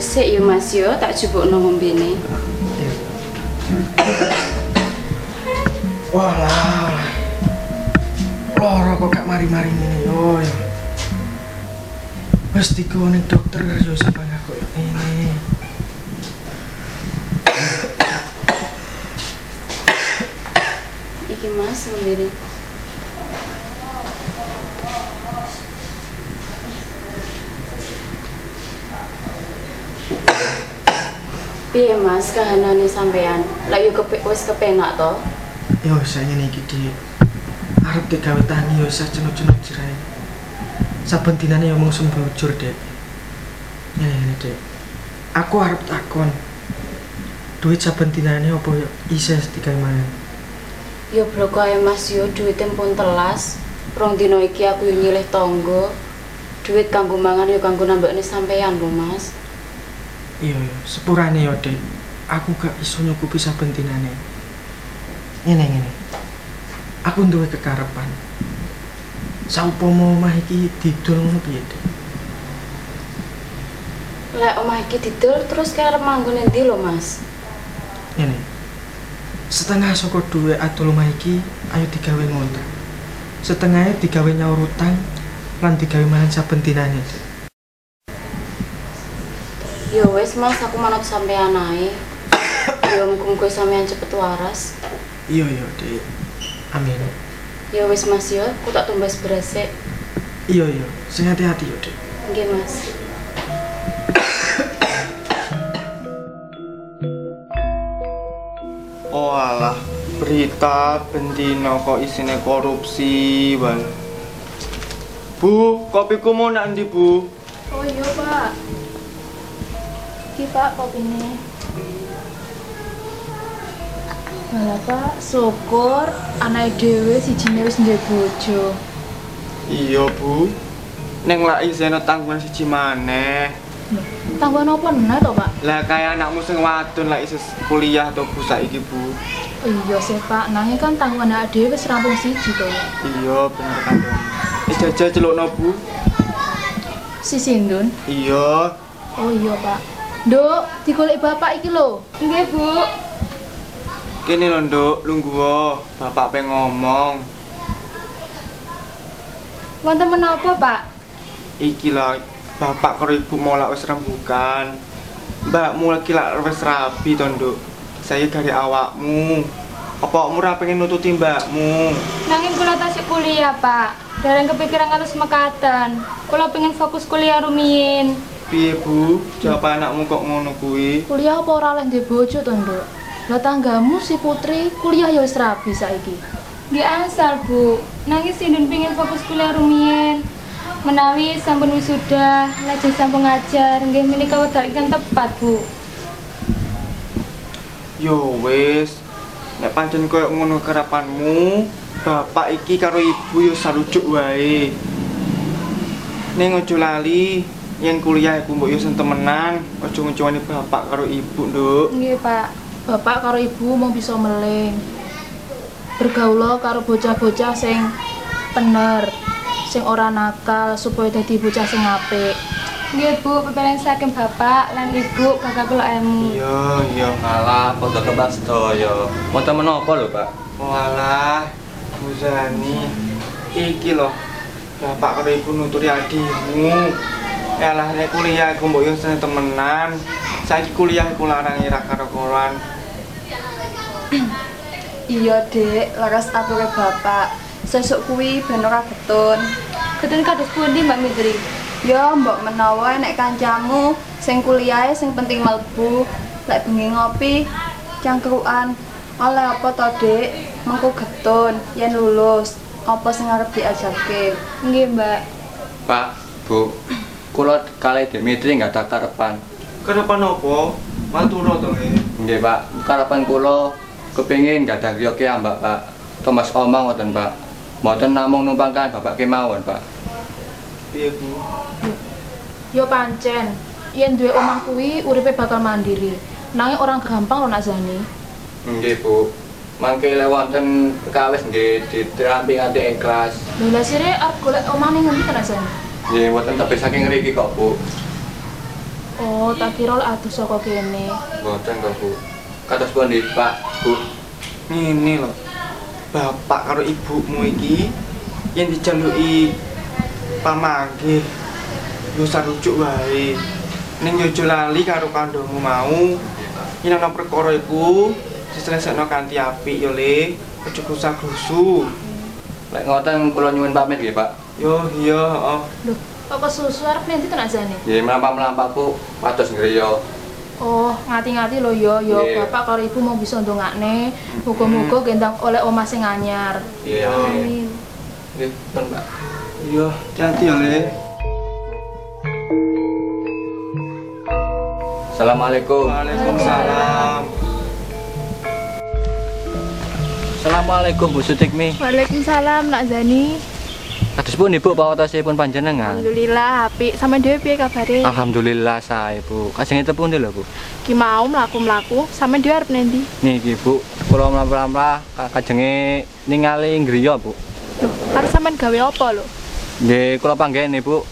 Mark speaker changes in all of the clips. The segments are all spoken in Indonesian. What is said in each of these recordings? Speaker 1: Sik ya Mas yo tak jupukno ngombene.
Speaker 2: Walah. Loro kok gak mari-mari ngene yo. yo. Wis dikone dokter yo sampe aku ini.
Speaker 1: Iki Mas ngombene. Piye Mas kahanane sampean? Lah yo kepe, wis kepenak to?
Speaker 2: Yo saya niki di arep digawe tani yo saya cenut-cenut jerahe. Saben dinane yo mung sembujur, Dek. Ngene ngene, Dek. Aku arep takon. Duit saben dinane opo yo isih digawe maneh.
Speaker 1: Yo bloko ae Mas yo duwite pun telas. Rong dina iki aku yo nyilih tangga. Duit kanggo mangan yo kanggo nambakne sampean lho Mas.
Speaker 2: Iya, iya, sepurane yo, Dek. Aku gak iso nyukupi saben dinane. Ngene ngene. Aku duwe kekarepan. Saupama omah iki didol ngono piye, Dek?
Speaker 1: Lek omah iki didol terus kaya arep manggon endi lho Mas?
Speaker 2: Ngene. Setengah saka duwe adol omah iki ayo digawe ngontrak. Setengahnya digawe nyaur utang lan digawe mangan saben dinane, Dek.
Speaker 1: Yo wis Ya Mas aku manut sampean ae. Yo mung kowe sampean cepet waras.
Speaker 2: Iya, iya, Dek. Amin.
Speaker 1: Ya wis Mas yo, aku tak tumbas beras sik.
Speaker 2: Iya, iya. Sing hati-hati yo, Dek.
Speaker 1: Nggih Mas.
Speaker 3: Oh alah, berita bendino kok isine korupsi ban. Bu, kopiku mau nak ndi bu?
Speaker 4: Oh iya pak Iki pak kopinya Malah pak, syukur anak dewe si jine wis ndek bojo
Speaker 3: Iya bu. Neng lak isine tanggungan siji maneh.
Speaker 4: Tangguan apa enak toh pak?
Speaker 3: Lah kaya anakmu sing wadon lak isih kuliah atau bu saiki bu.
Speaker 4: Oh, Iya sih pak, nangis kan tangguan anak dewe wis rampung siji toh
Speaker 3: Iya bener kan dong. Eh jajah celukno bu.
Speaker 4: Si Sindun
Speaker 3: Iya.
Speaker 4: Oh iya pak Dok, digolek bapak iki lho
Speaker 1: Nggih Bu.
Speaker 3: Kene lho nduk, lungguh wo. bapak pengen ngomong.
Speaker 4: Wonten menapa pak?
Speaker 3: Iki lah bapak karo ibu mau lak wis rembukan. Mbakmu lagi lak wis rabi to, Nduk. Saya dari awakmu. Apa kamu ra pengen nututi mbakmu?
Speaker 5: Nanging kula tasik kuliah, Pak. Dereng kepikiran kalus mekatan. Kula pengen fokus kuliah rumiyin.
Speaker 3: Piye, Bu? Jawab anakmu kok ngono kuwi?
Speaker 4: Kuliah apa ora oleh ndek bojo toh Nduk? Lah tanggamu si Putri kuliah ya wis rabi saiki
Speaker 5: Nggih asal, Bu. Nanging sindun pengen fokus kuliah rumiyin. Menawi sampun wisuda, lajeng sampun ngajar, nggih menika wekdal ingkang tepat, Bu.
Speaker 3: Yo wis. Nek pancen koyo ngono kerapanmu, bapak iki karo ibu yo sarujuk wae. Ning ojo lali yen kuliah iku mbok yo sen temenan, ojo ngecewani bapak karo ibu, Nduk.
Speaker 5: Nggih, Pak.
Speaker 4: Bapak karo ibu mau bisa meleng. Bergaul karo bocah-bocah sing bener, sing ora nakal supaya dadi bocah sing apik.
Speaker 5: Nggih, Bu, pepeling saking Bapak lan Ibu bakal kula ilmu.
Speaker 3: Iya, iya.
Speaker 6: Malah foto kebas doyo. Mau temen apa lho, Pak?
Speaker 3: Walah, Bu Zani, iki loh, bapak karo ibu nuturi adikmu. Elah nek kuliah aku mbok yo seneng temenan. Saiki kuliah aku larang ira karo koran.
Speaker 7: Iya, Dek, laras ature Bapak. Sesuk kuwi ben ora betun.
Speaker 5: Ketun kados pundi, Mbak Mitri?
Speaker 7: Ya, mbok menawa nek kancamu sing kuliahe sing penting melbu, lek bengi ngopi cangkruan. Oleh apa to, Dek? Mengko getun yen lulus. Apa sing arep diajarke?
Speaker 5: Nggih, Mbak.
Speaker 6: Pak, Bu. Kula kali Dimitri nggak tak karepan.
Speaker 3: Kenapa nopo? Maturo to e.
Speaker 6: Nggih, Pak. Karepan kula kepengin nggak ada yoke ambak, Pak. Thomas omong ngoten, Pak. Mboten namung numpangkan Bapak kemawon, Pak.
Speaker 3: Piye Bu?
Speaker 4: Yo pancen, yen duwe omah kuwi uripe bakal mandiri. Nanging orang gampang lho Nak Zani.
Speaker 6: Nggih, Bu. Mangke lewonten kawis nggih diterampi nganti ikhlas.
Speaker 4: Lho lah sire arep golek omah ning ngendi ta Nak Zani?
Speaker 6: Nggih, mboten tebih saking ngriki kok, Bu.
Speaker 8: Oh, tak kira lek adus saka kene.
Speaker 6: Mboten kok, Bu. Kados pundi, Pak? Bu.
Speaker 3: Ngene lho. Bapak karo ibumu iki yang dijaluki pamanggih yo sarujuk wae. Ning yo aja lali karo kandhungmu mau. Yen ana perkara iku diselesekno kanthi apik yo Le. Aja gusah grusu.
Speaker 6: Lek ngoten kula nyuwun pamit nggih, Pak.
Speaker 3: Yo oh, iya, heeh.
Speaker 8: Loh, kok kesusu arep nanti tenan jane?
Speaker 6: Nggih, mlampah-mlampah, Bu. Pados ngriya.
Speaker 8: Oh, ngati-ngati lho yo yo
Speaker 6: Iya.
Speaker 8: bapak karo ibu mau bisa ndongakne.
Speaker 4: Hmm.
Speaker 8: Muga-muga gendang oleh omah sing anyar.
Speaker 6: Iya, amin.
Speaker 1: Amin.
Speaker 6: Nggih, pun, Pak.
Speaker 3: Yo, hati-hati yo Le.
Speaker 6: Assalamualaikum.
Speaker 3: Waalaikumsalam.
Speaker 6: Assalamualaikum, Bu Sutikmi.
Speaker 4: Waalaikumsalam Nak Zani.
Speaker 6: Kados pundi, Bu, pawotosipun panjenengan?
Speaker 4: Alhamdulillah apik. Sampeyan dhewe piye kabare?
Speaker 6: Ah. Alhamdulillah sae, Bu. Kajengipun pundi lho, Bu?
Speaker 4: Ki mau mlaku-mlaku, sampeyan dhewe arep nendi?
Speaker 6: Niki, Bu. Kula mlampah-mlampah ka- kajenge ningali ngriya, Bu.
Speaker 4: Loh, arep sampeyan gawe apa lho?
Speaker 6: Nggih, kula panggen nih, Bu.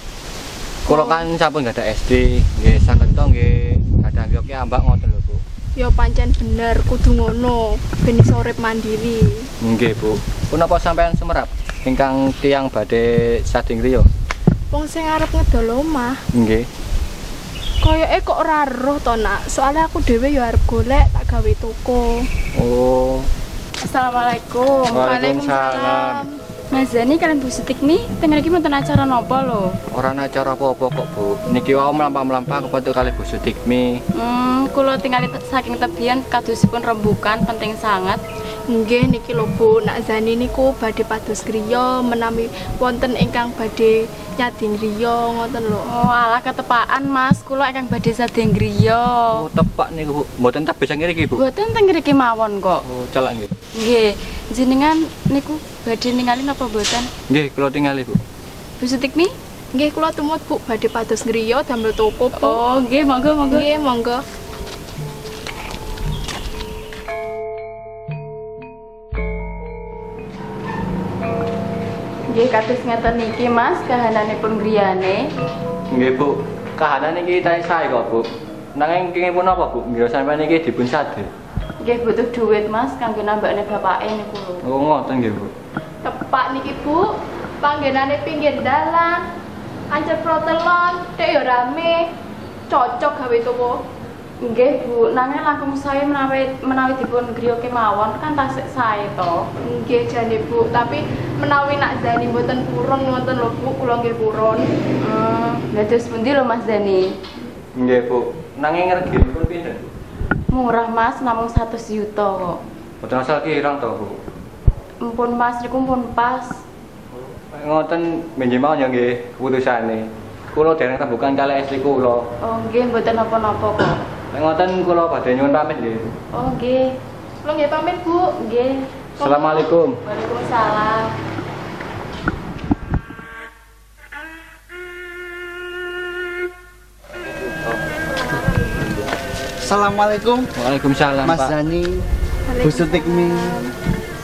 Speaker 6: Kula kan sampun gak ada SD, nggih saged to nggih kadang yo ki ambak ngoten lho, Bu.
Speaker 4: Ya pancen bener kudu ngono, ben iso urip mandiri.
Speaker 6: Nggih, Bu. Punapa sampean sumerap ingkang tiang badhe sading griya?
Speaker 4: Wong sing arep ngedol omah,
Speaker 6: Nggih.
Speaker 4: koyoke kok ora roh to Nak. Soale aku dhewe ya arep golek tak gawe toko.
Speaker 6: Oh,
Speaker 4: Assalamualaikum.
Speaker 6: Waalaikumsalam.
Speaker 1: Mas Zani kalian Bu Setik nih, tengah lagi nonton acara nopo lo.
Speaker 6: ora ana acara apa-apa kok, Bu. Niki wae mlampah-mlampah kepetuk kali Bu Sutikmi.
Speaker 1: Hmm, kulo tinggal saking tebian kadusipun rembukan penting sangat.
Speaker 4: Nggih niki lho Bu, Nak Zani niku badhe padus griya menami wonten ingkang badhe nyading griya ngoten lho.
Speaker 1: Oh, ala ketepaan Mas, kulo ingkang badhe sadeng griya.
Speaker 6: Oh, tepak niku, Bu. Mboten tebih sang iki, Bu.
Speaker 1: Mboten teng mriki mawon kok.
Speaker 6: Oh, celak nggih.
Speaker 1: Nggih, jenengan niku badhe ningali napa mboten?
Speaker 6: Nggih, kula tingali, Bu.
Speaker 1: Bu Sutikmi?
Speaker 4: Nggih kula tumut Bu badhe padus griya damel toko Bu.
Speaker 1: Oh, nggih, monggo monggo.
Speaker 4: Nggih monggo.
Speaker 1: Nggih, kados ngeten niki Mas, kahananipun griyane.
Speaker 6: Nggih, Bu. Kahanan iki taih sae kok, Bu. Nanging kenging punapa, Bu? Ngira sampean iki dipun sade.
Speaker 1: Nggih butuh duit Mas kanggo nambakne bapake niku lho.
Speaker 6: Oh, ngoten nggih, Bu.
Speaker 4: Tepak niki Bu, panggenane pinggir dalan. Ancen protelon, tek yo rame. Cocok gawe toko.
Speaker 1: Nggih Bu, nanging langkung saya menawi menawi dipun griya kemawon kan tasik sae to.
Speaker 4: Nggih jane Bu, tapi menawi Nak Zani mboten purun ngoten lho Bu, kula nggih purun.
Speaker 1: Hmm, lha terus pundi lho Mas Dani?
Speaker 6: Nggih, Bu. Nanging reginipun pinten?
Speaker 1: Murah Mas, namung 100 juta kok.
Speaker 6: Mboten asal kirang to, Bu.
Speaker 1: Empun Mas niku pun pas.
Speaker 6: Ngoten menjih mawon ya nggih keputusane. Kula dereng rembukan kali istri kula.
Speaker 1: Oh nggih mboten napa-napa kok.
Speaker 6: Nek Ngoten kula badhe nyuwun pamit nggih.
Speaker 1: Oh nggih.
Speaker 4: Kula nggih pamit Bu.
Speaker 1: Nggih.
Speaker 6: Assalamualaikum.
Speaker 1: Waalaikumsalam.
Speaker 9: Assalamualaikum
Speaker 6: Waalaikumsalam,
Speaker 9: Mas
Speaker 6: Pak.
Speaker 9: Zani Bu Sutikmi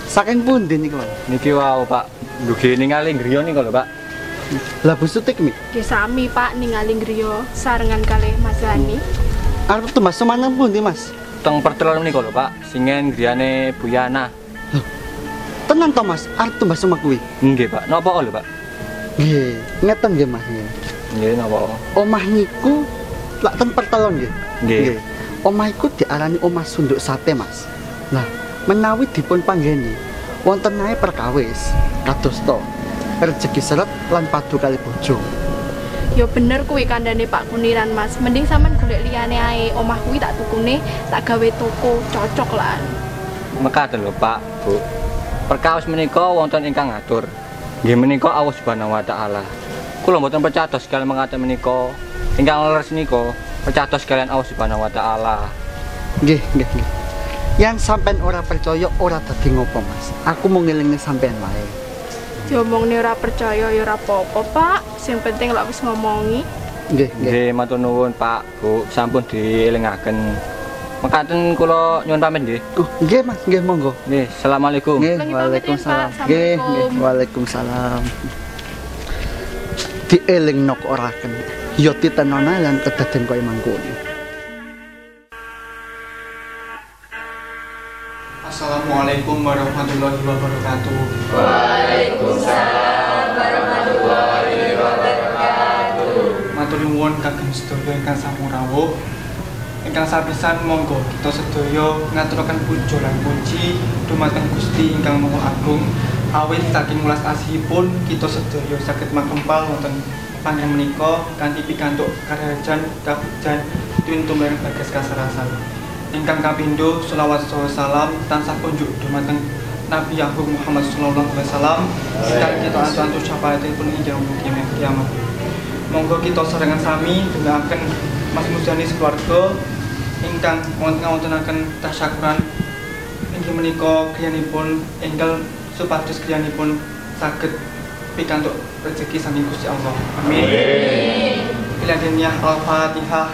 Speaker 9: Saking pundi niku lho
Speaker 6: Niki wau, Pak. Ndugi ningali griya niku lho, Pak.
Speaker 9: Lah Bu Sutikmi
Speaker 4: Nggih sami Pak ningali griya sarengan kalih Mas Zani.
Speaker 9: arep tumbas semanang pundi Mas
Speaker 6: Teng pertelon niku lho, Pak. Singen griyane Bu Yana.
Speaker 9: Tenang to Mas arep tumbas semua kuwi
Speaker 6: Nggih, Pak. Napa lho, Pak?
Speaker 9: Nggih ngeten nggih Mas nggih.
Speaker 6: Nggih, napa?
Speaker 9: Omah niku lak ten pertelon nggih
Speaker 6: Nggih.
Speaker 9: Nggih. Omah iku diarani omah sunduk sate Mas Nah menawi dipun panggeni wonten ae perkawis kados to rezeki seret lan padu kali bojo
Speaker 4: Ya bener kuwi kandhane Pak Kuniran Mas. Mending sampean golek liyane ae. Omah kuwi tak tukune, tak gawe toko, Oh, cocok lah.
Speaker 6: mekaten lho Pak, Bu. Perkawis menika wonten ingkang ngatur. Nggih menika Allah Subhanahu wa taala. Kula mboten pecados kalian mengatakan menika ingkang leres menika pecados kalian Allah Subhanahu wa taala.
Speaker 9: Nggih, nggih, nggih. Yang sampean ora percaya ora dadi ngopo, Mas. Aku mau ngelingi sampean wae.
Speaker 4: Diomongne ora percaya ya ora apa-apa, Pak. Sing penting lek wis ngomongi.
Speaker 9: Nggih, nggih.
Speaker 6: Nggih matur nuwun Pak, Bu. Sampun dielingaken. Mekaten kula nyuwun pamit nggih.
Speaker 9: Uh, nggih, Mas, nggih monggo.
Speaker 6: Nggih, Assalamualaikum.
Speaker 9: Nggih,
Speaker 4: Lagi pamit,
Speaker 9: Waalaikumsalam.
Speaker 4: Pak.
Speaker 9: Nggih,
Speaker 4: Assalamualaikum.
Speaker 9: nggih, Waalaikumsalam. Dieling nok ora kena. ya titenona lan kedaden kaya mangkono.
Speaker 3: Assalamualaikum warahmatullahi wabarakatuh. Waalaikumsalam warahmatullahi wabarakatuh. Matur nuwun kagem sedaya ingkang sampun rawuh. Ingkang sapisan monggo kita sedaya ngaturaken puji lan puji dumateng Gusti ingkang Maha Agung. Awit saking mulas asihipun kita sedaya saged makempal wonten panjang menika kanthi pikantuk karajan kabujan tuwin tumbareng bagas kasarasan. ingkang kapindo selawat saha salam tansah kunjuk dumateng Nabi Agung Muhammad sallallahu alaihi wasallam sekali kita atur syafaatipun ing jauh kiamat kiamat monggo kita serangan sami dongaaken Mas Mujani sekeluarga ingkang wonten-wontenaken tasyakuran inggih menika griyanipun enggal supados griyanipun saged pikantuk rezeki saking Gusti Allah amin Bila dunia al-fatihah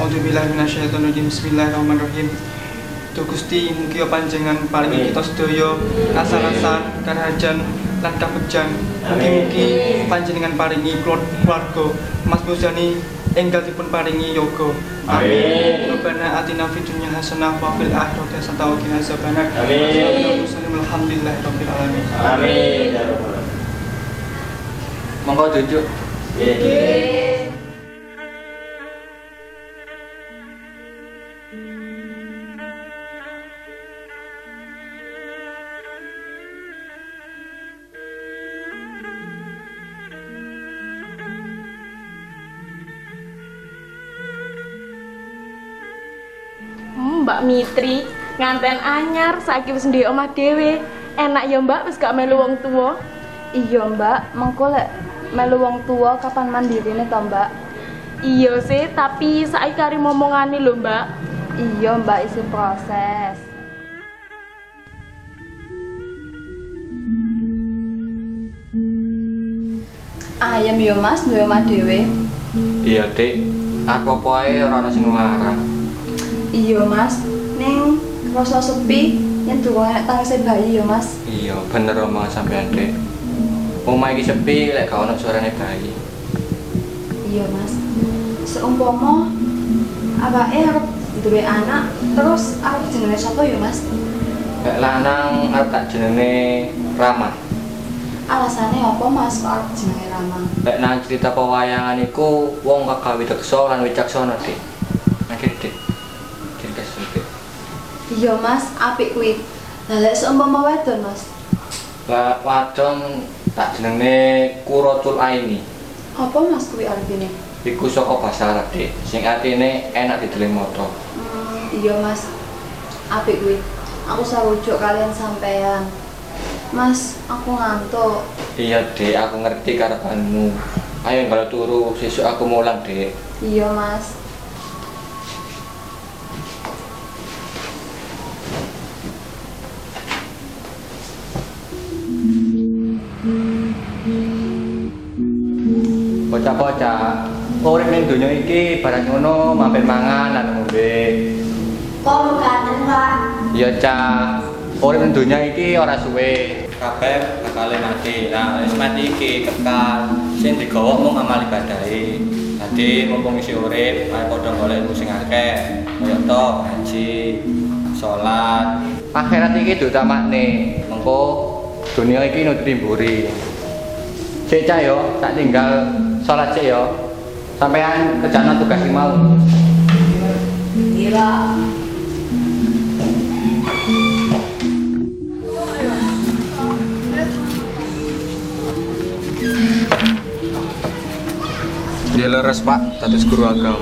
Speaker 3: Auzubillahi minasyaitonirrajim. Bismillahirrahmanirrahim. Tu Gusti mugi panjenengan paringi kita sedaya kasarasan, karajan lan kabejan. Mugi-mugi panjenengan paringi keluarga Mas Muzani enggal dipun paringi yoga. Amin. Rabbana atina fid dunya hasanah wa fil akhirati hasanah wa qina azabannar. Amin. Alhamdulillahirabbil alamin.
Speaker 10: Amin.
Speaker 6: Monggo duduk.
Speaker 5: Hmm, Mbak Mitri, nganten anyar saiki wis ndek omah dhewe. Enak ya Mbak wis gak melu wong tuwa.
Speaker 7: Iya mbak, mengko lek melu wong tua kapan mandirine to mbak?
Speaker 5: Iya sih, tapi saiki kari momongane lho Mbak.
Speaker 7: Iya mbak isi proses. Ayam yo mas, duwe omah dhewe.
Speaker 6: Iya, Dik. Aku apa ae ora ana sing larang.
Speaker 7: Iya mas, ning rasa sepi yen durung enek tangise bayi yo mas.
Speaker 6: Iya, bener omong sampean, Dik. Omah iki sepi lek gak ono suarane bayi.
Speaker 7: Iya mas. Seumpama awake arep duwe anak terus arep jenenge sapa yo mas?
Speaker 6: Lek lanang arep tak jenenge Rama.
Speaker 7: Alasannya apa mas kok arep jenenge Rama?
Speaker 6: Lek nang cerita pewayangan iku wong kagawe deksa lan wicaksana, Dik. Nggih, Dik. Dik kesel, Dik.
Speaker 7: Iya mas, apik kuwi. Lah lek seumpama wedon mas,
Speaker 6: Lah wadon tak jenenge Kuratul Aini.
Speaker 7: apa mas kuwi artine?
Speaker 6: Iku saka bahasa Arab, Dik. Sing artine enak dideleng mata.
Speaker 7: Hmm, iya mas, apik kuwi. Aku sarujuk kalian sampean. Mas, aku ngantuk.
Speaker 6: Iya, Dek, aku ngerti karepanmu. Ayo kalau turu, sesuk aku mulang, Dek.
Speaker 7: Iya mas.
Speaker 6: Bocah-bocah, urip ning donya iki barang ngono mampir mangan lan ngombe. Kok mekaten, Pak? Iya, Cah. Urip ning donya iki ora suwe. Kabeh bakal mati. Nah, wis mati iki kekal. Sing digawa mung amal ibadahe. Dadi mumpung isih urip, ayo padha golek ilmu sing akeh. Kaya to ngaji, salat. Akhirat iki diutamakne. Mengko dunia iki nutri mburi. Cek cah yo, tak tinggal sholat cek yo. Sampean kerjaan tugas sing mau.
Speaker 10: Dia leres pak, dados guru agama.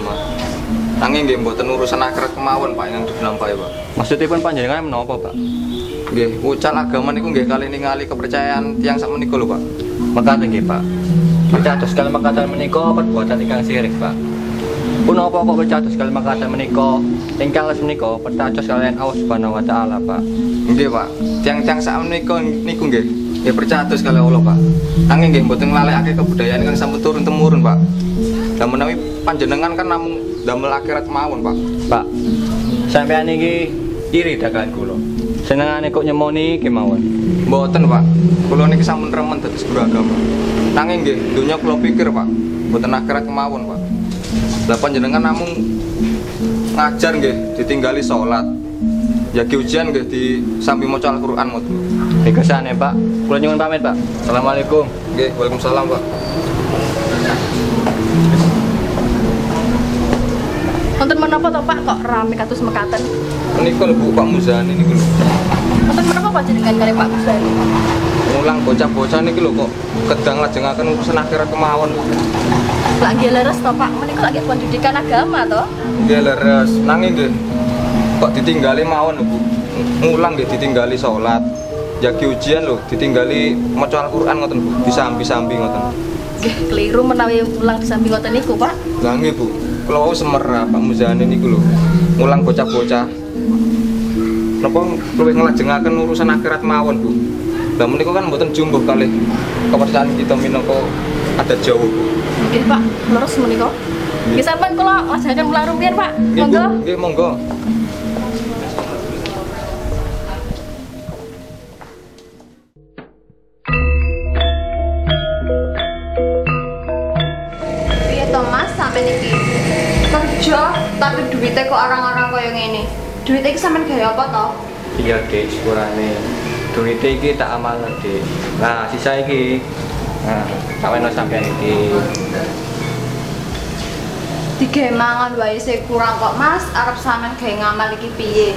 Speaker 10: Nanging nggih mboten urusan akhirat kemawon pak ingkang dibilang Pak Iwa.
Speaker 6: Maksudipun panjenengan menapa, Pak?
Speaker 10: Nggih, ucal agama niku nggih kali ningali kepercayaan tiang sak menika lho pak.
Speaker 6: Mekaten nggih, Pak. Percados kali mekaten menika perbuatan ingkang sirik, Pak. Punapa kok percados kali mekaten menika ingkang les menika percados kalian Allah Subhanahu wa taala, Pak.
Speaker 10: Nggih pak, tiang-tiang sak menika niku nggih nggih percados kali Allah pak. Nanging nggih mboten nglalekake kebudayaan ingkang sampun turun temurun pak. Dan menawi panjenengan kan namung damel akhirat kemawon pak.
Speaker 6: Pak. Sampean iki
Speaker 10: iri dagangan kula.
Speaker 6: Senengane kok nyemoni iki mawon.
Speaker 10: Mboten, Pak. Kula niki sampun remen dados guru agama. Nanging nggih donya kula pikir, Pak. Mboten akhirat kemawon, Pak. Lah panjenengan namung ngajar nggih ditinggali salat. Yagi ujian nggih disambi maca Al-Qur'an mutu.
Speaker 6: Bikesane, Pak. Kula nyuwun pamit, Pak. Assalamualaikum.
Speaker 10: Nggih, Waalaikumsalam, Pak.
Speaker 5: Wonten menapa to Pak kok rame kados mekaten?
Speaker 10: Menika lho Bu Pak Muzani niku lho.
Speaker 5: Wonten menapa panjenengan kali Pak Muzani?
Speaker 10: Mulang bocah-bocah niki lho kok gedang lajengaken urusan akhirat kemawon. Bu.
Speaker 5: Lah nggih leres to Pak, menika lagi pendidikan agama to.
Speaker 10: Nggih leres, nanging nggih kok ditinggali mawon lho Bu. Mulang nggih ditinggali salat. Jagi ujian lho ditinggali maca Al-Qur'an ngoten Bu, disambi-sambi ngoten.
Speaker 5: Nggih keliru menawi mulang di samping ngoten niku Pak.
Speaker 10: Lah nggih Bu, kula wau semerah Pak Muzani niku lho. Mulang bocah-bocah. Napa luwih ngelajengaken urusan akhirat mawon Bu. Lah menika kan mboten jumbuh kalih kepercayaan kita minangka ada jauh Bu.
Speaker 5: Nggih Pak, leres menika. Nggih sampean kula ngajarkan mulang rumiyin Pak.
Speaker 10: Nggih Bu,
Speaker 5: Monggo.
Speaker 10: nggih monggo.
Speaker 7: Piye to Mas sampe niki? Kerja tapi duitnya kok orang-orang kaya ngene. Duitnya iki sampean gawe apa to?
Speaker 6: Iya, Dik, syukurane. Duit iki tak amalno, Dik. Nah, sisa iki nah, tak weno sampean iki.
Speaker 7: Digawe mangan wae sih kurang kok Mas, arep sampean gawe ngamal iki piye?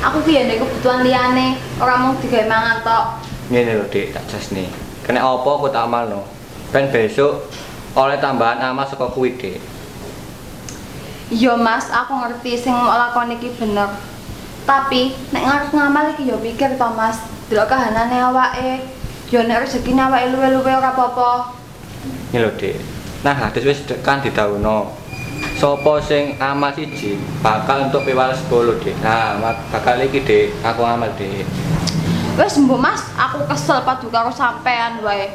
Speaker 7: Aku ki ya ndek kebutuhan liyane, ora mung digawe mangan tok.
Speaker 6: Ngene lho, Dik, tak jasne. Kena apa aku tak amalno. Ben besok oleh tambahan amal saka kuwi, Dik.
Speaker 7: Iya Mas, aku ngerti sing mau lakon iki bener. Tapi nek ngarep ngamal iki ya pikir to Mas, delok kahanane awake. Ya nek rezekine awake luwe-luwe ora apa-apa.
Speaker 6: Ngene lho, Dik. Nah, hadis wis kan didhawuhno. Sopo sing amal siji bakal untuk piwal 10, Dik. Nah, mak- bakal iki, Dik, aku amal, Dik.
Speaker 7: Wes mbok Mas, aku kesel padu karo sampean wae.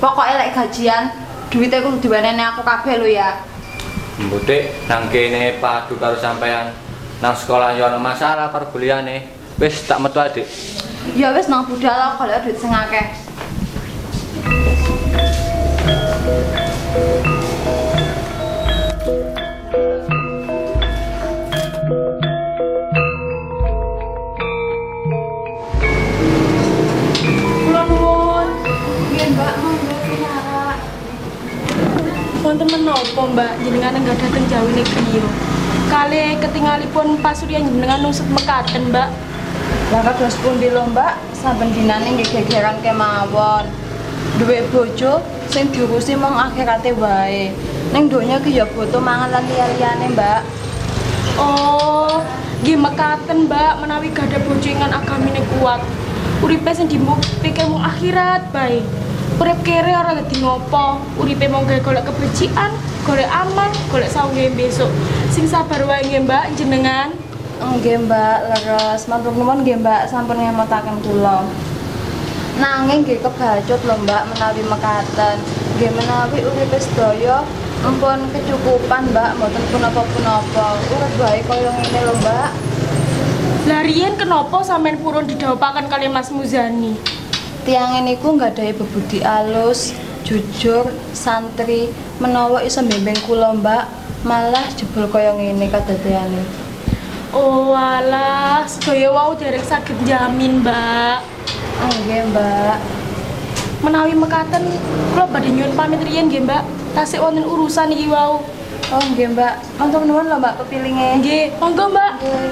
Speaker 7: Pokoke lek gajian, duwite kudu diwenehne aku kabeh lho ya.
Speaker 6: Mbutik nang kene padu karo sampean nang sekolah yo ana masalah perkuliahane. Wis tak metu adik.
Speaker 7: Ya wis nang budal lah kalau duit sing akeh.
Speaker 5: Kula nuwun. Nggih Mbak, monggo kinarak. Wonten menapa Mbak jenengan enggak dateng jauh negeri yo. Kali ketinggalipun pasuryan jenengan nusut mekaten Mbak.
Speaker 7: Lah kados pundi lho Mbak, saben dinane nggih gegeran kemawon. Duwe bojo sing diurusi mung akhirate wae. Ning donya ki ya butuh mangan lan liya-liyane Mbak.
Speaker 5: Oh, nggih mekaten Mbak menawi gadah bojo ingkang agamine kuat. Uripe sing dimuktekke mung akhirat bae. Urip kere ora dadi ngopo, uripe mung gawe golek kebersihan, golek aman, golek saungge besok. Sing sabar wae nggih Mbak jenengan.
Speaker 7: Nggih Mbak, leres. Matur nuwun nggih Mbak, sampun ngemotaken kula. Nanging nggih kebacut lho Mbak menawi mekaten. Nggih menawi uripe sedaya ampun kecukupan Mbak, mboten punapa-punapa. Urip wae kaya ngene lho Mbak.
Speaker 5: Lah riyen kenapa sampean purun didhaupaken kali Mas Muzani?
Speaker 7: Tiangen niku nggadahi bebudi alus, jujur, santri, menawa iso mbimbing kula Mbak, malah jebol kaya ngene kadadeane.
Speaker 5: Oh alah, sedaya wau derek saged jamin, Mbak.
Speaker 7: Oh, Nggih Mbak.
Speaker 5: Menawi mekaten, kula badhe nyuwun pamit riyen nggih, Mbak. Tasik wonten urusan iki wau.
Speaker 7: Oh nggih Mbak, matur nuwun lho Mbak kepilinge.
Speaker 5: Nggih, monggo, Mbak.
Speaker 7: Nggih.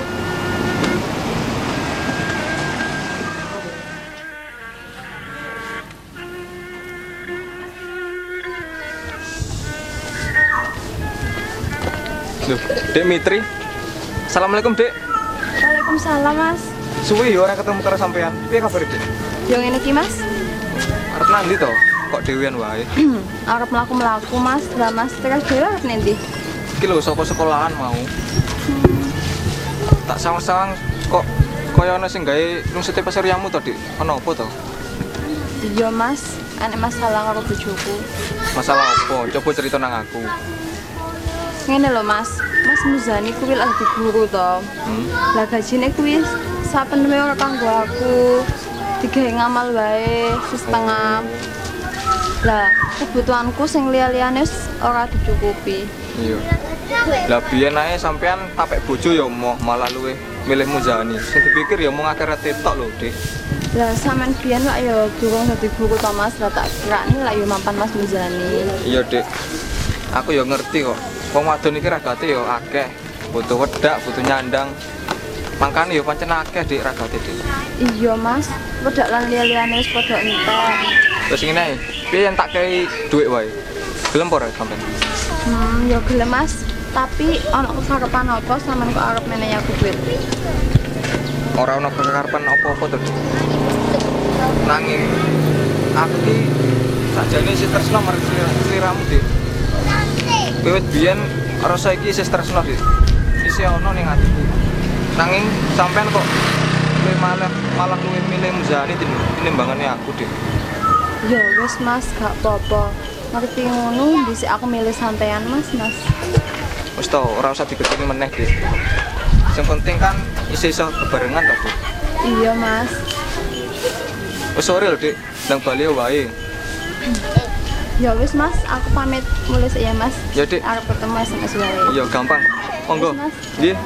Speaker 10: Loh, Dek Mitri. Assalamualaikum, Dek.
Speaker 7: Waalaikumsalam Mas.
Speaker 10: Suwi ya ora ketemu karo sampean. Piye kabar, Dek?
Speaker 7: Yo ngene iki Mas.
Speaker 10: Arep nang ndi to? Kok dhewean wae?
Speaker 7: Arep mlaku-mlaku Mas, lah Mas terus dhewe arep nendi?
Speaker 10: Iki lho saka sekolahan mau. Tak sawang-sawang kok kaya ana sing gawe nungsete peseriamu to, Dik. Ana apa to?
Speaker 7: Iya Mas, ana masalah karo bojoku.
Speaker 10: Masalah apa? Coba cerita nang aku.
Speaker 7: ngene lho Mas Mas Muzani kuwi lak dadi guru to lah gajine kuwi saben wae ora kanggo aku digawe ngamal wae setengah lah kebutuhanku sing liya-liyane wis ora dicukupi
Speaker 10: Iya. Lah biyen ae sampean tapek bojo ya mau malah luwe milih Muzani. Sing dipikir ya mau akhirat tok lho, Dik.
Speaker 7: lah sampean biyen lak ya durung dadi guru to Mas lah tak kirani lak ya mampan Mas Muzani
Speaker 10: Iya, Dik. Aku ya ngerti kok. Wong wadon iki ragate ya akeh. Butuh wedak, butuh nyandang. Mangkane ya pancen akeh Dik ragate, Dik.
Speaker 7: iya Mas wedak lan liya-liyane wis padha entek
Speaker 10: Terus ngene ae, piye yang tak kei dhuwit wae? Gelem apa ora sampean?
Speaker 7: Hmm, ya gelem Mas, tapi ana kesarepan apa sampean kok arep menehi aku duit?
Speaker 10: Ora ono kekarepan apa-apa to, Dik. Nanging aku ki sajane si tresno marang slira- sliramu, Dik. Wiwit biyen rasa iki isih tresno, Dik. Isih ono ning atiku. Nanging sampean kok luwih malah malah luwih milih Muzani tin- tinimbangane aku, Dik.
Speaker 7: Ya wis Mas, gak apa-apa. Ngerti ngono, bisa aku milih sampean Mas, Mas.
Speaker 10: Wis to, ora usah digeteni meneh, Dik. Yang penting kan isih iso bebarengan to, Dik.
Speaker 7: Iya Mas.
Speaker 10: Wis sore lho, Dik. Nang Bali wae.
Speaker 7: Ya wis Mas, aku pamit mulai ya Mas.
Speaker 10: Ya, Dik.
Speaker 7: Arep ketemu SMS wae.
Speaker 10: Iya, gampang. Monggo.
Speaker 7: Mas, Mas.
Speaker 10: Nggih.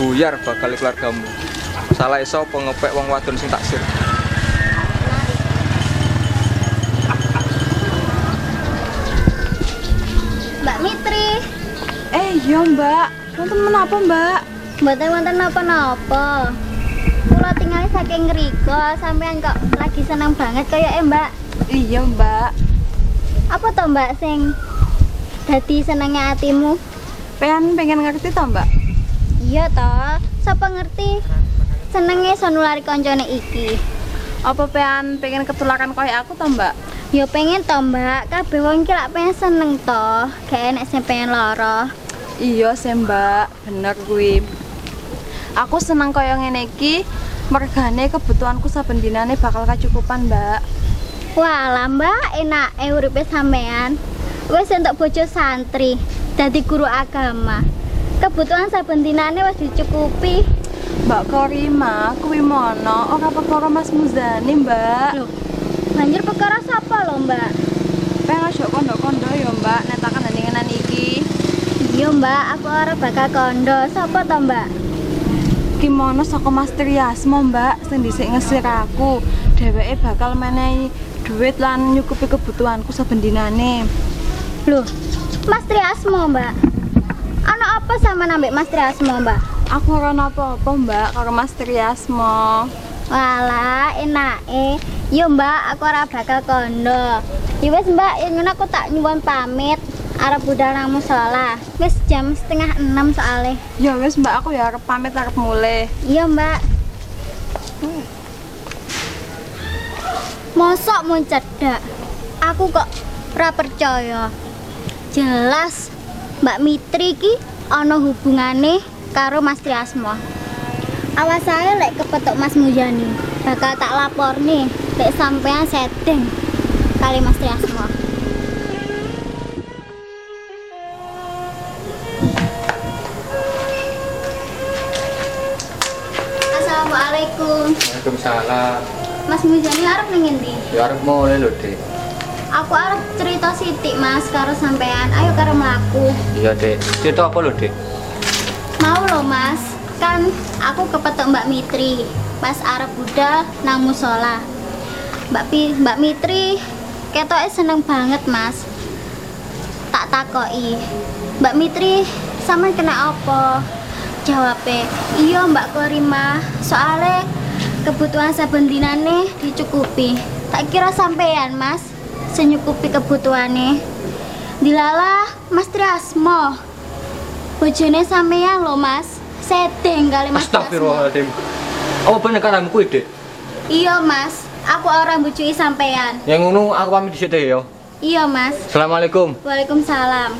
Speaker 10: Buyar bakal keluargamu. Salah iso apa ngepek wong wadon sing taksir.
Speaker 11: Mbak Mitri,
Speaker 7: Eh, iya Mbak. Wonten menapa Mbak?
Speaker 11: mboten wonten napa-napa. Kula tinggal saking ngriko, sampean kok lagi seneng banget kaya eh, Mbak.
Speaker 7: Iya Mbak.
Speaker 11: Apa to Mbak sing dadi senenge atimu?
Speaker 7: Pengen pengen ngerti to Mbak?
Speaker 11: Iya to, sapa ngerti senenge sonulari koncone iki.
Speaker 7: Apa pengen pengen ketularan koyo aku to Mbak?
Speaker 11: Ya pengen to Mbak, kabeh wong iki lak pengen seneng to, gak enek sing pengen lara.
Speaker 7: Iya sih mbak, bener kuwi. Aku seneng kaya ngene iki, mergane kebutuhanku saben dinane bakal kacukupan mbak.
Speaker 11: Walah Mbak, enak e uripe sampean. Wis entuk bojo santri, dadi guru agama. Kebutuhan saben dinane wis dicukupi.
Speaker 7: Mbak Korima, kuwi mono, ora perkara Mas Muzani mbak.
Speaker 11: Loh, banjur perkara sapa lho, Mbak?
Speaker 7: Pengen ojo kondo-kondo ya mbak, netakan hendingenan iki.
Speaker 11: Iya, Mbak, aku ora bakal kondo. Sapa to, Mbak?
Speaker 7: Kimono saka Mas Triasmo mbak, sing dhisik ngesir aku. Dheweke bakal menehi duit lan nyukupi kebutuhanku saben dinane.
Speaker 11: Loh, Mas Triasmo, Mbak. Ana apa sama nambek Mas Triasmo, Mbak?
Speaker 7: Aku ora napa-apa mbak, karo Mas Triasmo.
Speaker 11: Walah, enake. Yo, Mbak, aku ora bakal kondo. Ya wis, Mbak, yen aku tak nyuwun pamit. Arep budal nang musola. Wis jam setengah enam soalnya.
Speaker 7: Ya wis mbak aku ya arep pamit arep mulai.
Speaker 11: Iya mbak Mosok mau cedak Aku kok ora percaya Jelas Mbak Mitri ki ana hubungane karo Mas Triasmo Awas saya lek kepetuk Mas Mujani Bakal tak lapor nih Lek sampean setting Kali Mas Triasmo Assalamualaikum
Speaker 6: Waalaikumsalam.
Speaker 11: Mas Mujani arep ning ngendi?
Speaker 6: Ya arep mulai lho, Dik.
Speaker 11: Aku arep cerita sithik Mas karo sampean. Ayo karo mlaku.
Speaker 6: Iya, Dik. Cerita apa lho, Dik?
Speaker 11: Mau lho Mas, kan aku kepetuk Mbak Mitri pas arep budal nang musola. Mbak Pi, Mbak Mitri ketoke seneng banget Mas. Tak takoki. Mbak Mitri sampean kena apa? Jawabe, iya Mbak Korima, soale kebutuhan saben dinane dicukupi. Tak kira sampean Mas, senyukupi kebutuhane. Dilalah Mas Triasmo, Bojone sampean lho, Mas. Sedeng kali Mas. Rasmo.
Speaker 6: Astagfirullahaladzim. Apa Oh, bener karamu kuwi, Dik?
Speaker 11: Iya, Mas. Aku ora mbujuki sampean.
Speaker 6: Yang ngono aku pamit dhisik, Dik, ya.
Speaker 11: Iya, Mas.
Speaker 6: Assalamualaikum.
Speaker 11: Waalaikumsalam.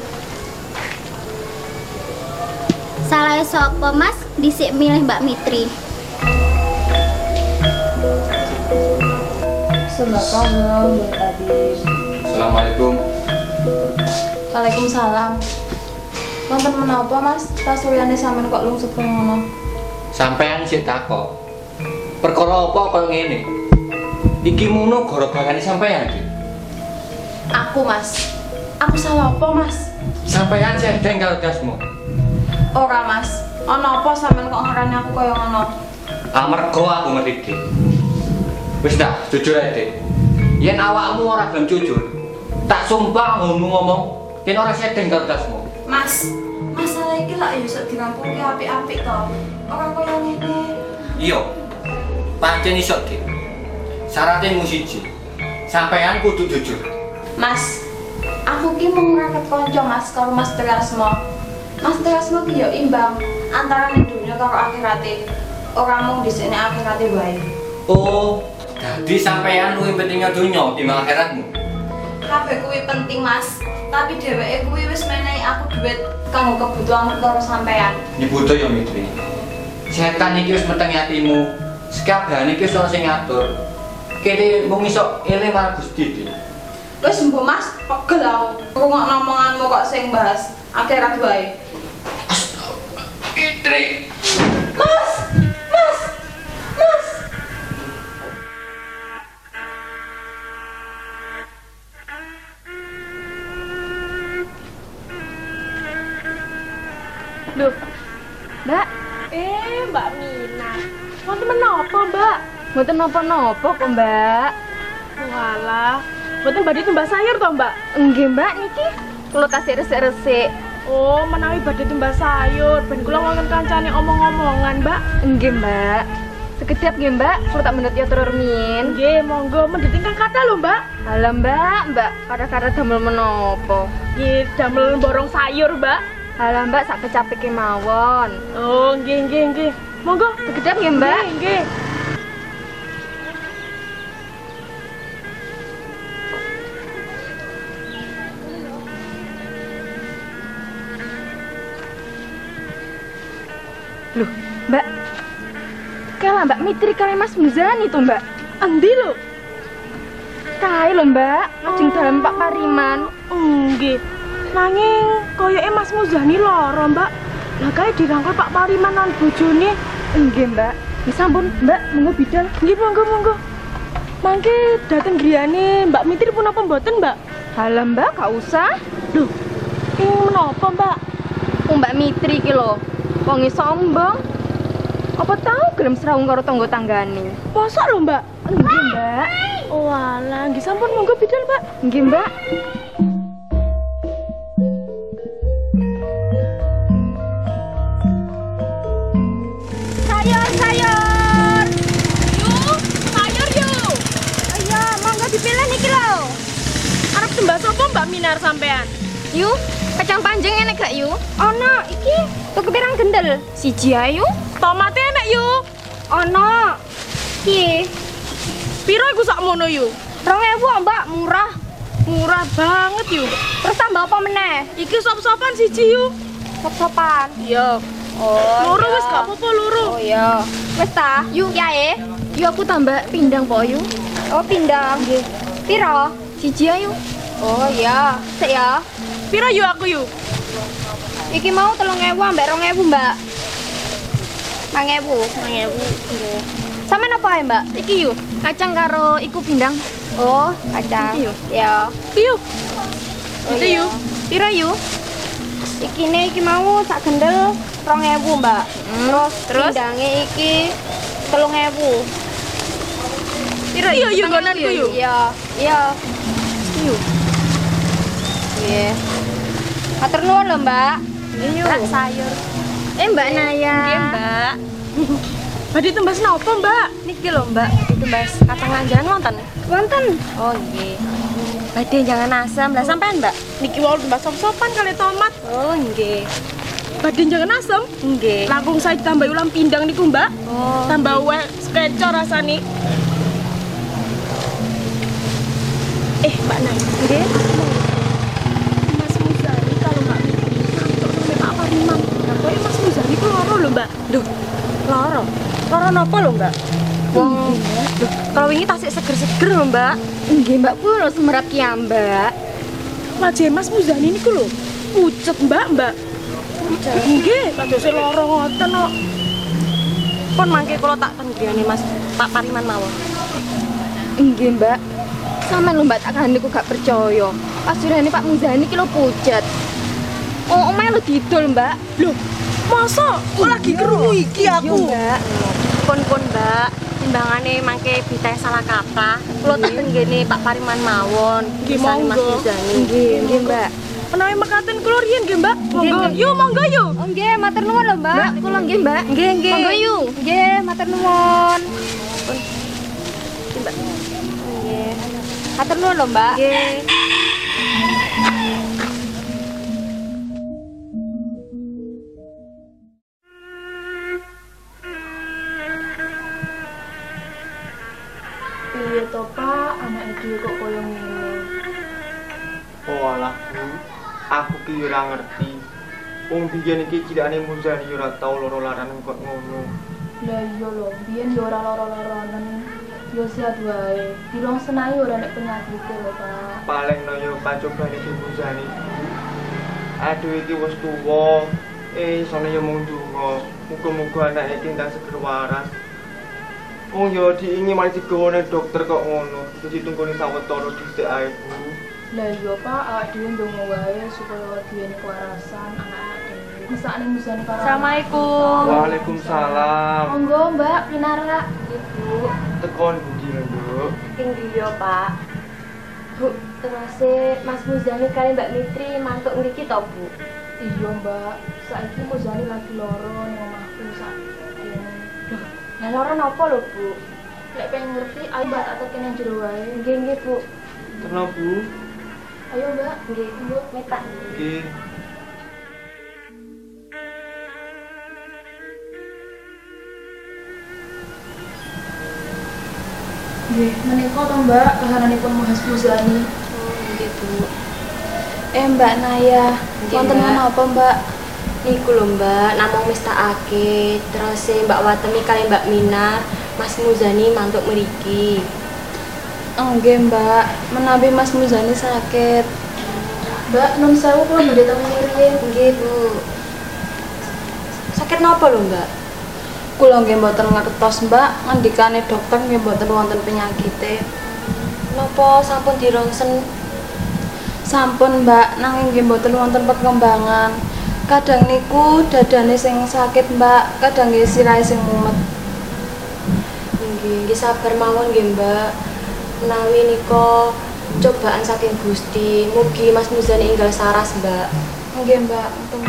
Speaker 11: Salah sapa, Mas? Disik milih Mbak Mitri.
Speaker 10: Assalamualaikum.
Speaker 7: Waalaikumsalam. Wonten menapa, Mas? Pasuliyane sampean kok lungsuh ngono?
Speaker 6: Sampean sik takok. Perkara apa kaya ngene? Iki mono gara-garane sampean iki.
Speaker 7: Aku, Mas. Aku salah apa, Mas?
Speaker 6: Sampean sedeng karo dasmu.
Speaker 7: Ora, Mas. Ana apa sampean kok ngarani aku kaya ngono?
Speaker 6: Amarga aku ngerti. Wis dah, jujur ae, Dik. Yen awakmu ora gelem jujur, tak sumpah ngomong ngomong yen ora sedeng karo dasmu.
Speaker 7: Mas, masalah iki lak yo sok dirampungi apik-apik to. Ora kaya ngene.
Speaker 6: Iya. Pancen iso, Dik. Syaratnya mung siji. Sampean kudu jujur.
Speaker 7: Mas, aku ki mau ngangkat konco Mas karo Mas Triasmo. Mas Triasmo ki yo imbang antara ning dunya karo akhirate. Ora mung dhisik nek akhirate wae.
Speaker 6: Oh, dadi sampean luwih pentingnya donya timbang akhiratmu.
Speaker 7: Kabeh kuwi penting, Mas. Tapi dheweke kuwi wis menehi aku duit kanggo kebutuhan karo sampean.
Speaker 6: Nyebuto ya Mitri. Setan iki wis metengi atimu. Sekabehane iki wis ana sing ngatur. Kene mung iso eling marang Gusti. Dik.
Speaker 7: Wis mbok Mas, pegel aku. Rungokno omonganmu kok sing bahas akhirat wae.
Speaker 6: Mitri.
Speaker 7: Mas, Mas, Mas.
Speaker 5: Loh, Mbak? Eh, Mbak Mina. Wonten menapa, Mbak? Wonten napa-napa kok, Mbak. Walah, wonten badhe tumbas sayur to, Mbak? Nggih, Mbak niki. Kula tasih resik-resik. Oh, menawi badhe tumbas sayur, ben kula wonten kancane omong-omongan, Mbak. Nggih, Mbak. Sekedap nggih, Mbak. Kula tak mendhet ya tur min. Nggih, monggo mendhet ingkang kata lho, Mbak. Halah, Mbak, Mbak, kata-kata damel menapa? Nggih, damel borong sayur, Mbak. Halah, Mbak, sak kecapike mawon. Oh, nggih, nggih, nggih. Monggo, sekedap nggih, Mbak. Nggih, nggih. Loh, Mbak. Kalah Mbak Mitri kali Mas Muzani tuh, Mbak. Endi lho? Kae lho, Mbak. Ajeng dalam Pak Pariman. Nggih. Nanging koyoke Mas Muzani lara, Mbak. Lah kae dirangkul Pak Pariman lan bojone. Nggih, Mbak. Wis sampun, Mbak, monggo bidal. Nggih, monggo, monggo. Mangke dateng griyane Mbak Mitri punapa mboten, Mbak? Halah, Mbak, gak usah. Loh, ini menapa, Mbak? Oh, Mbak Mitri iki lho. Wonge sombong. Apa tahu gelem srawung karo tangga-tanggane? Mosok lho, Mbak? Nggih, Mbak. Walah, nggih sampun monggo bidal, Mbak. Nggih, Mbak.
Speaker 4: Sayur, sayur. Yuk, sayur yuk. Iya, monggo dipilih niki lho.
Speaker 5: Arep sembah sapa Mbak Minar sampean?
Speaker 4: Yuk, kacang panjang enak gak yuk? Ono, iki tuku pirang gendel. Siji ayu.
Speaker 5: Tomate enak yuk.
Speaker 4: Ono. Piye?
Speaker 5: Piro iku sakmono yuk?
Speaker 4: 2000, Mbak, murah.
Speaker 5: Murah banget yuk.
Speaker 4: Terus tambah apa meneh?
Speaker 5: Iki sop-sopan siji yuk.
Speaker 4: Sop-sopan.
Speaker 5: Iya.
Speaker 4: Oh.
Speaker 5: Loro
Speaker 4: iya.
Speaker 5: wis gak apa-apa loro.
Speaker 4: Oh iya. Wis ta? Yuk kiae. Yuk aku tambah pindang po yuk. Oh, pindang. Nggih. Piro? Siji ayu. Oh iya. Sik ya.
Speaker 5: Piro yuk aku yuk?
Speaker 4: Iki mau 3000 mbak 2000, Mbak. 5000, 5000. Nggih. Sama apa ya, Mbak? Iki yuk, kacang karo iku pindang. Oh, kacang.
Speaker 5: Iki
Speaker 4: Iki
Speaker 5: yuk.
Speaker 4: Ya.
Speaker 5: Yuk.
Speaker 4: Oh,
Speaker 5: Itu
Speaker 4: iya.
Speaker 5: yuk.
Speaker 4: Piro yuk? Iki ne iki mau sak gendel 2000, Mbak. Terus
Speaker 5: terus?
Speaker 4: pindange iki 3000.
Speaker 5: Piro yuk yuk gonanku yuk.
Speaker 4: Iya, iya.
Speaker 5: Yuk.
Speaker 4: Iya. Matur nuwun lho, Mbak.
Speaker 5: Iya.
Speaker 4: Rak sayur. Eh, Mbak Naya.
Speaker 5: Iya, Mbak. Badhe tumbas napa, Mbak?
Speaker 4: Niki lho, Mbak, ditumbas kacang lanjangan wonten. Wonten. Oh, nggih. Badhe jangan asam lah sampean, Mbak.
Speaker 5: Niki wau tumbas sop-sopan kali tomat.
Speaker 4: Oh, nggih.
Speaker 5: Badhe jangan asem.
Speaker 4: Nggih.
Speaker 5: Langkung saya tambah ulam pindang niku, Mbak.
Speaker 4: Oh.
Speaker 5: Tambah wae keco rasane. Eh, Mbak Nay.
Speaker 4: Nggih.
Speaker 5: Mas Muzani kalau Mbak Mitri kantor sampai Pak Pariman. Lah kok ya Mas Muzani ku loro lho, Mbak. Duh, loro. Loro napa lho, Mbak?
Speaker 4: Wong. Duh, kalau wingi tasik seger-seger lho, Mbak. Nggih, Mbak ku lho semerap ki, Mbak. wajah Mas Muzani niku lho. Pucet, Mbak, Mbak. Nggih, kados lara ngoten kok. Pun mangke kula tak pendhiyane Mas Pak Pariman mawon.
Speaker 11: Nggih, Mbak. Sampeyan lho Mbak tak kandhiku gak percaya. Pasurane Pak Muzani ki lho pucet. Oh, omahe lho didol, Mbak. Lho,
Speaker 4: Masa kok lagi kerungu iki aku.
Speaker 11: Mbak.
Speaker 5: Pun-pun mbak, timbangane mangke bitae salah kaprah. Kulo tak tenggene Pak Pariman mawon.
Speaker 4: Nggih,
Speaker 5: Pisane Mas
Speaker 4: monggo.
Speaker 5: Muzani.
Speaker 11: Nggih, nggih, Mbak.
Speaker 4: Menawi mekaten kula riyen nggih, Mbak. Monggo. Yo, monggo yo.
Speaker 11: Oh, nggih, matur nuwun lho, Mbak. Kula nggih, Mbak.
Speaker 5: Nggih, nggih.
Speaker 11: Monggo yuk. Nggih, matur nuwun. Nggih. Matur nuwun lho, Mbak.
Speaker 5: Nggih.
Speaker 4: Piye to, Pak? Anak iki kok koyo ngene.
Speaker 3: Olah Bu, aku ki yo ora ngerti. Wong biyen iki cilakane Muzani yo ora tau loro larangan kok ngono.
Speaker 4: Lah iya lho, biyen yo ora lara-laranen. Yo sehat wae. Dilong senai ora nek penyakit lho, Pak.
Speaker 3: Paling no yo pacobane ki Muzani. Bu. Aduh iki wis tuwa. Eh sone yo mung donga. Muga-muga anake iki entar seger waras. Wong yo diingi mari digawane dokter kok ngono. Dadi tunggone sawetara dhisik ae Bu.
Speaker 4: Lah iya Pak, awak dhewe ndonga wae supaya awak dhewe kewarasan anak-anak dhewe. Mesakne musane para.
Speaker 5: Assalamualaikum.
Speaker 3: Waalaikumsalam.
Speaker 4: Monggo Mbak Pinara.
Speaker 5: Ibu,
Speaker 3: Tekon pundi lho, Bu?
Speaker 5: ing dia Pak. Bu, terase Mas Muzani kali Mbak Mitri mantuk ngriki to, Bu?
Speaker 4: Iya Mbak, saiki Muzani lagi lara nang omahku sak. Loh,
Speaker 5: Lah lara napa lho, Bu?
Speaker 4: Lek pengen ngerti, ayo Mbak tak tekan yang jero wae.
Speaker 5: Nggih, nggih, Bu.
Speaker 3: Tenang Bu.
Speaker 4: Ayo Mbak.
Speaker 5: Nggih, Bu, metak.
Speaker 3: Nggih.
Speaker 4: Nggih, menika to Mbak kahananipun Mas Muzani.
Speaker 5: Nggih, Bu.
Speaker 7: Eh Mbak Naya,
Speaker 5: Nggih,
Speaker 7: wonten
Speaker 5: Iya, Mbak.
Speaker 7: menapa Mbak?
Speaker 5: Iku lho mbak, namung mestakake Terus e mbak Watemi kali mbak Minar Mas Muzani mantuk meriki
Speaker 7: Nggih Mbak, menawi Mas Muzani sakit.
Speaker 4: Mbak, nun sewu kula badhe temen riyen.
Speaker 5: Nggih bu Sakit napa lho mbak?
Speaker 7: Kula nggih mboten ngertos Mbak, ngendikane dokter nggih mboten wonten penyakite.
Speaker 5: Napa sampun dirongsen?
Speaker 7: Sampun Mbak, nanging nggih mboten wonten perkembangan. Kadang niku dadane sing sakit Mbak, kadang nggih sirahe sing mumet.
Speaker 5: Nggih, nggih sabar mawon nggih mbak Menawi niko cobaan saking Gusti Mugi Mas Muzani inggal saras mbak
Speaker 7: Nggih Mbak, untung.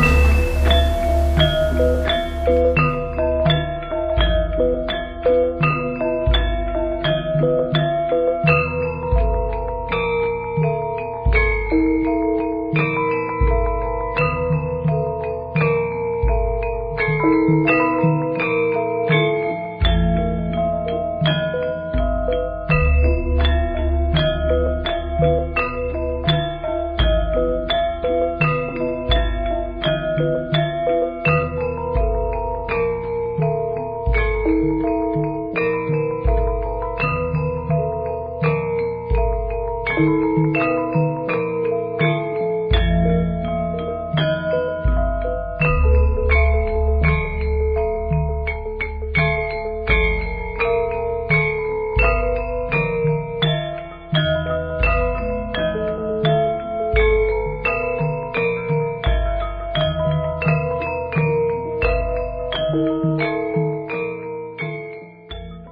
Speaker 5: Nggih,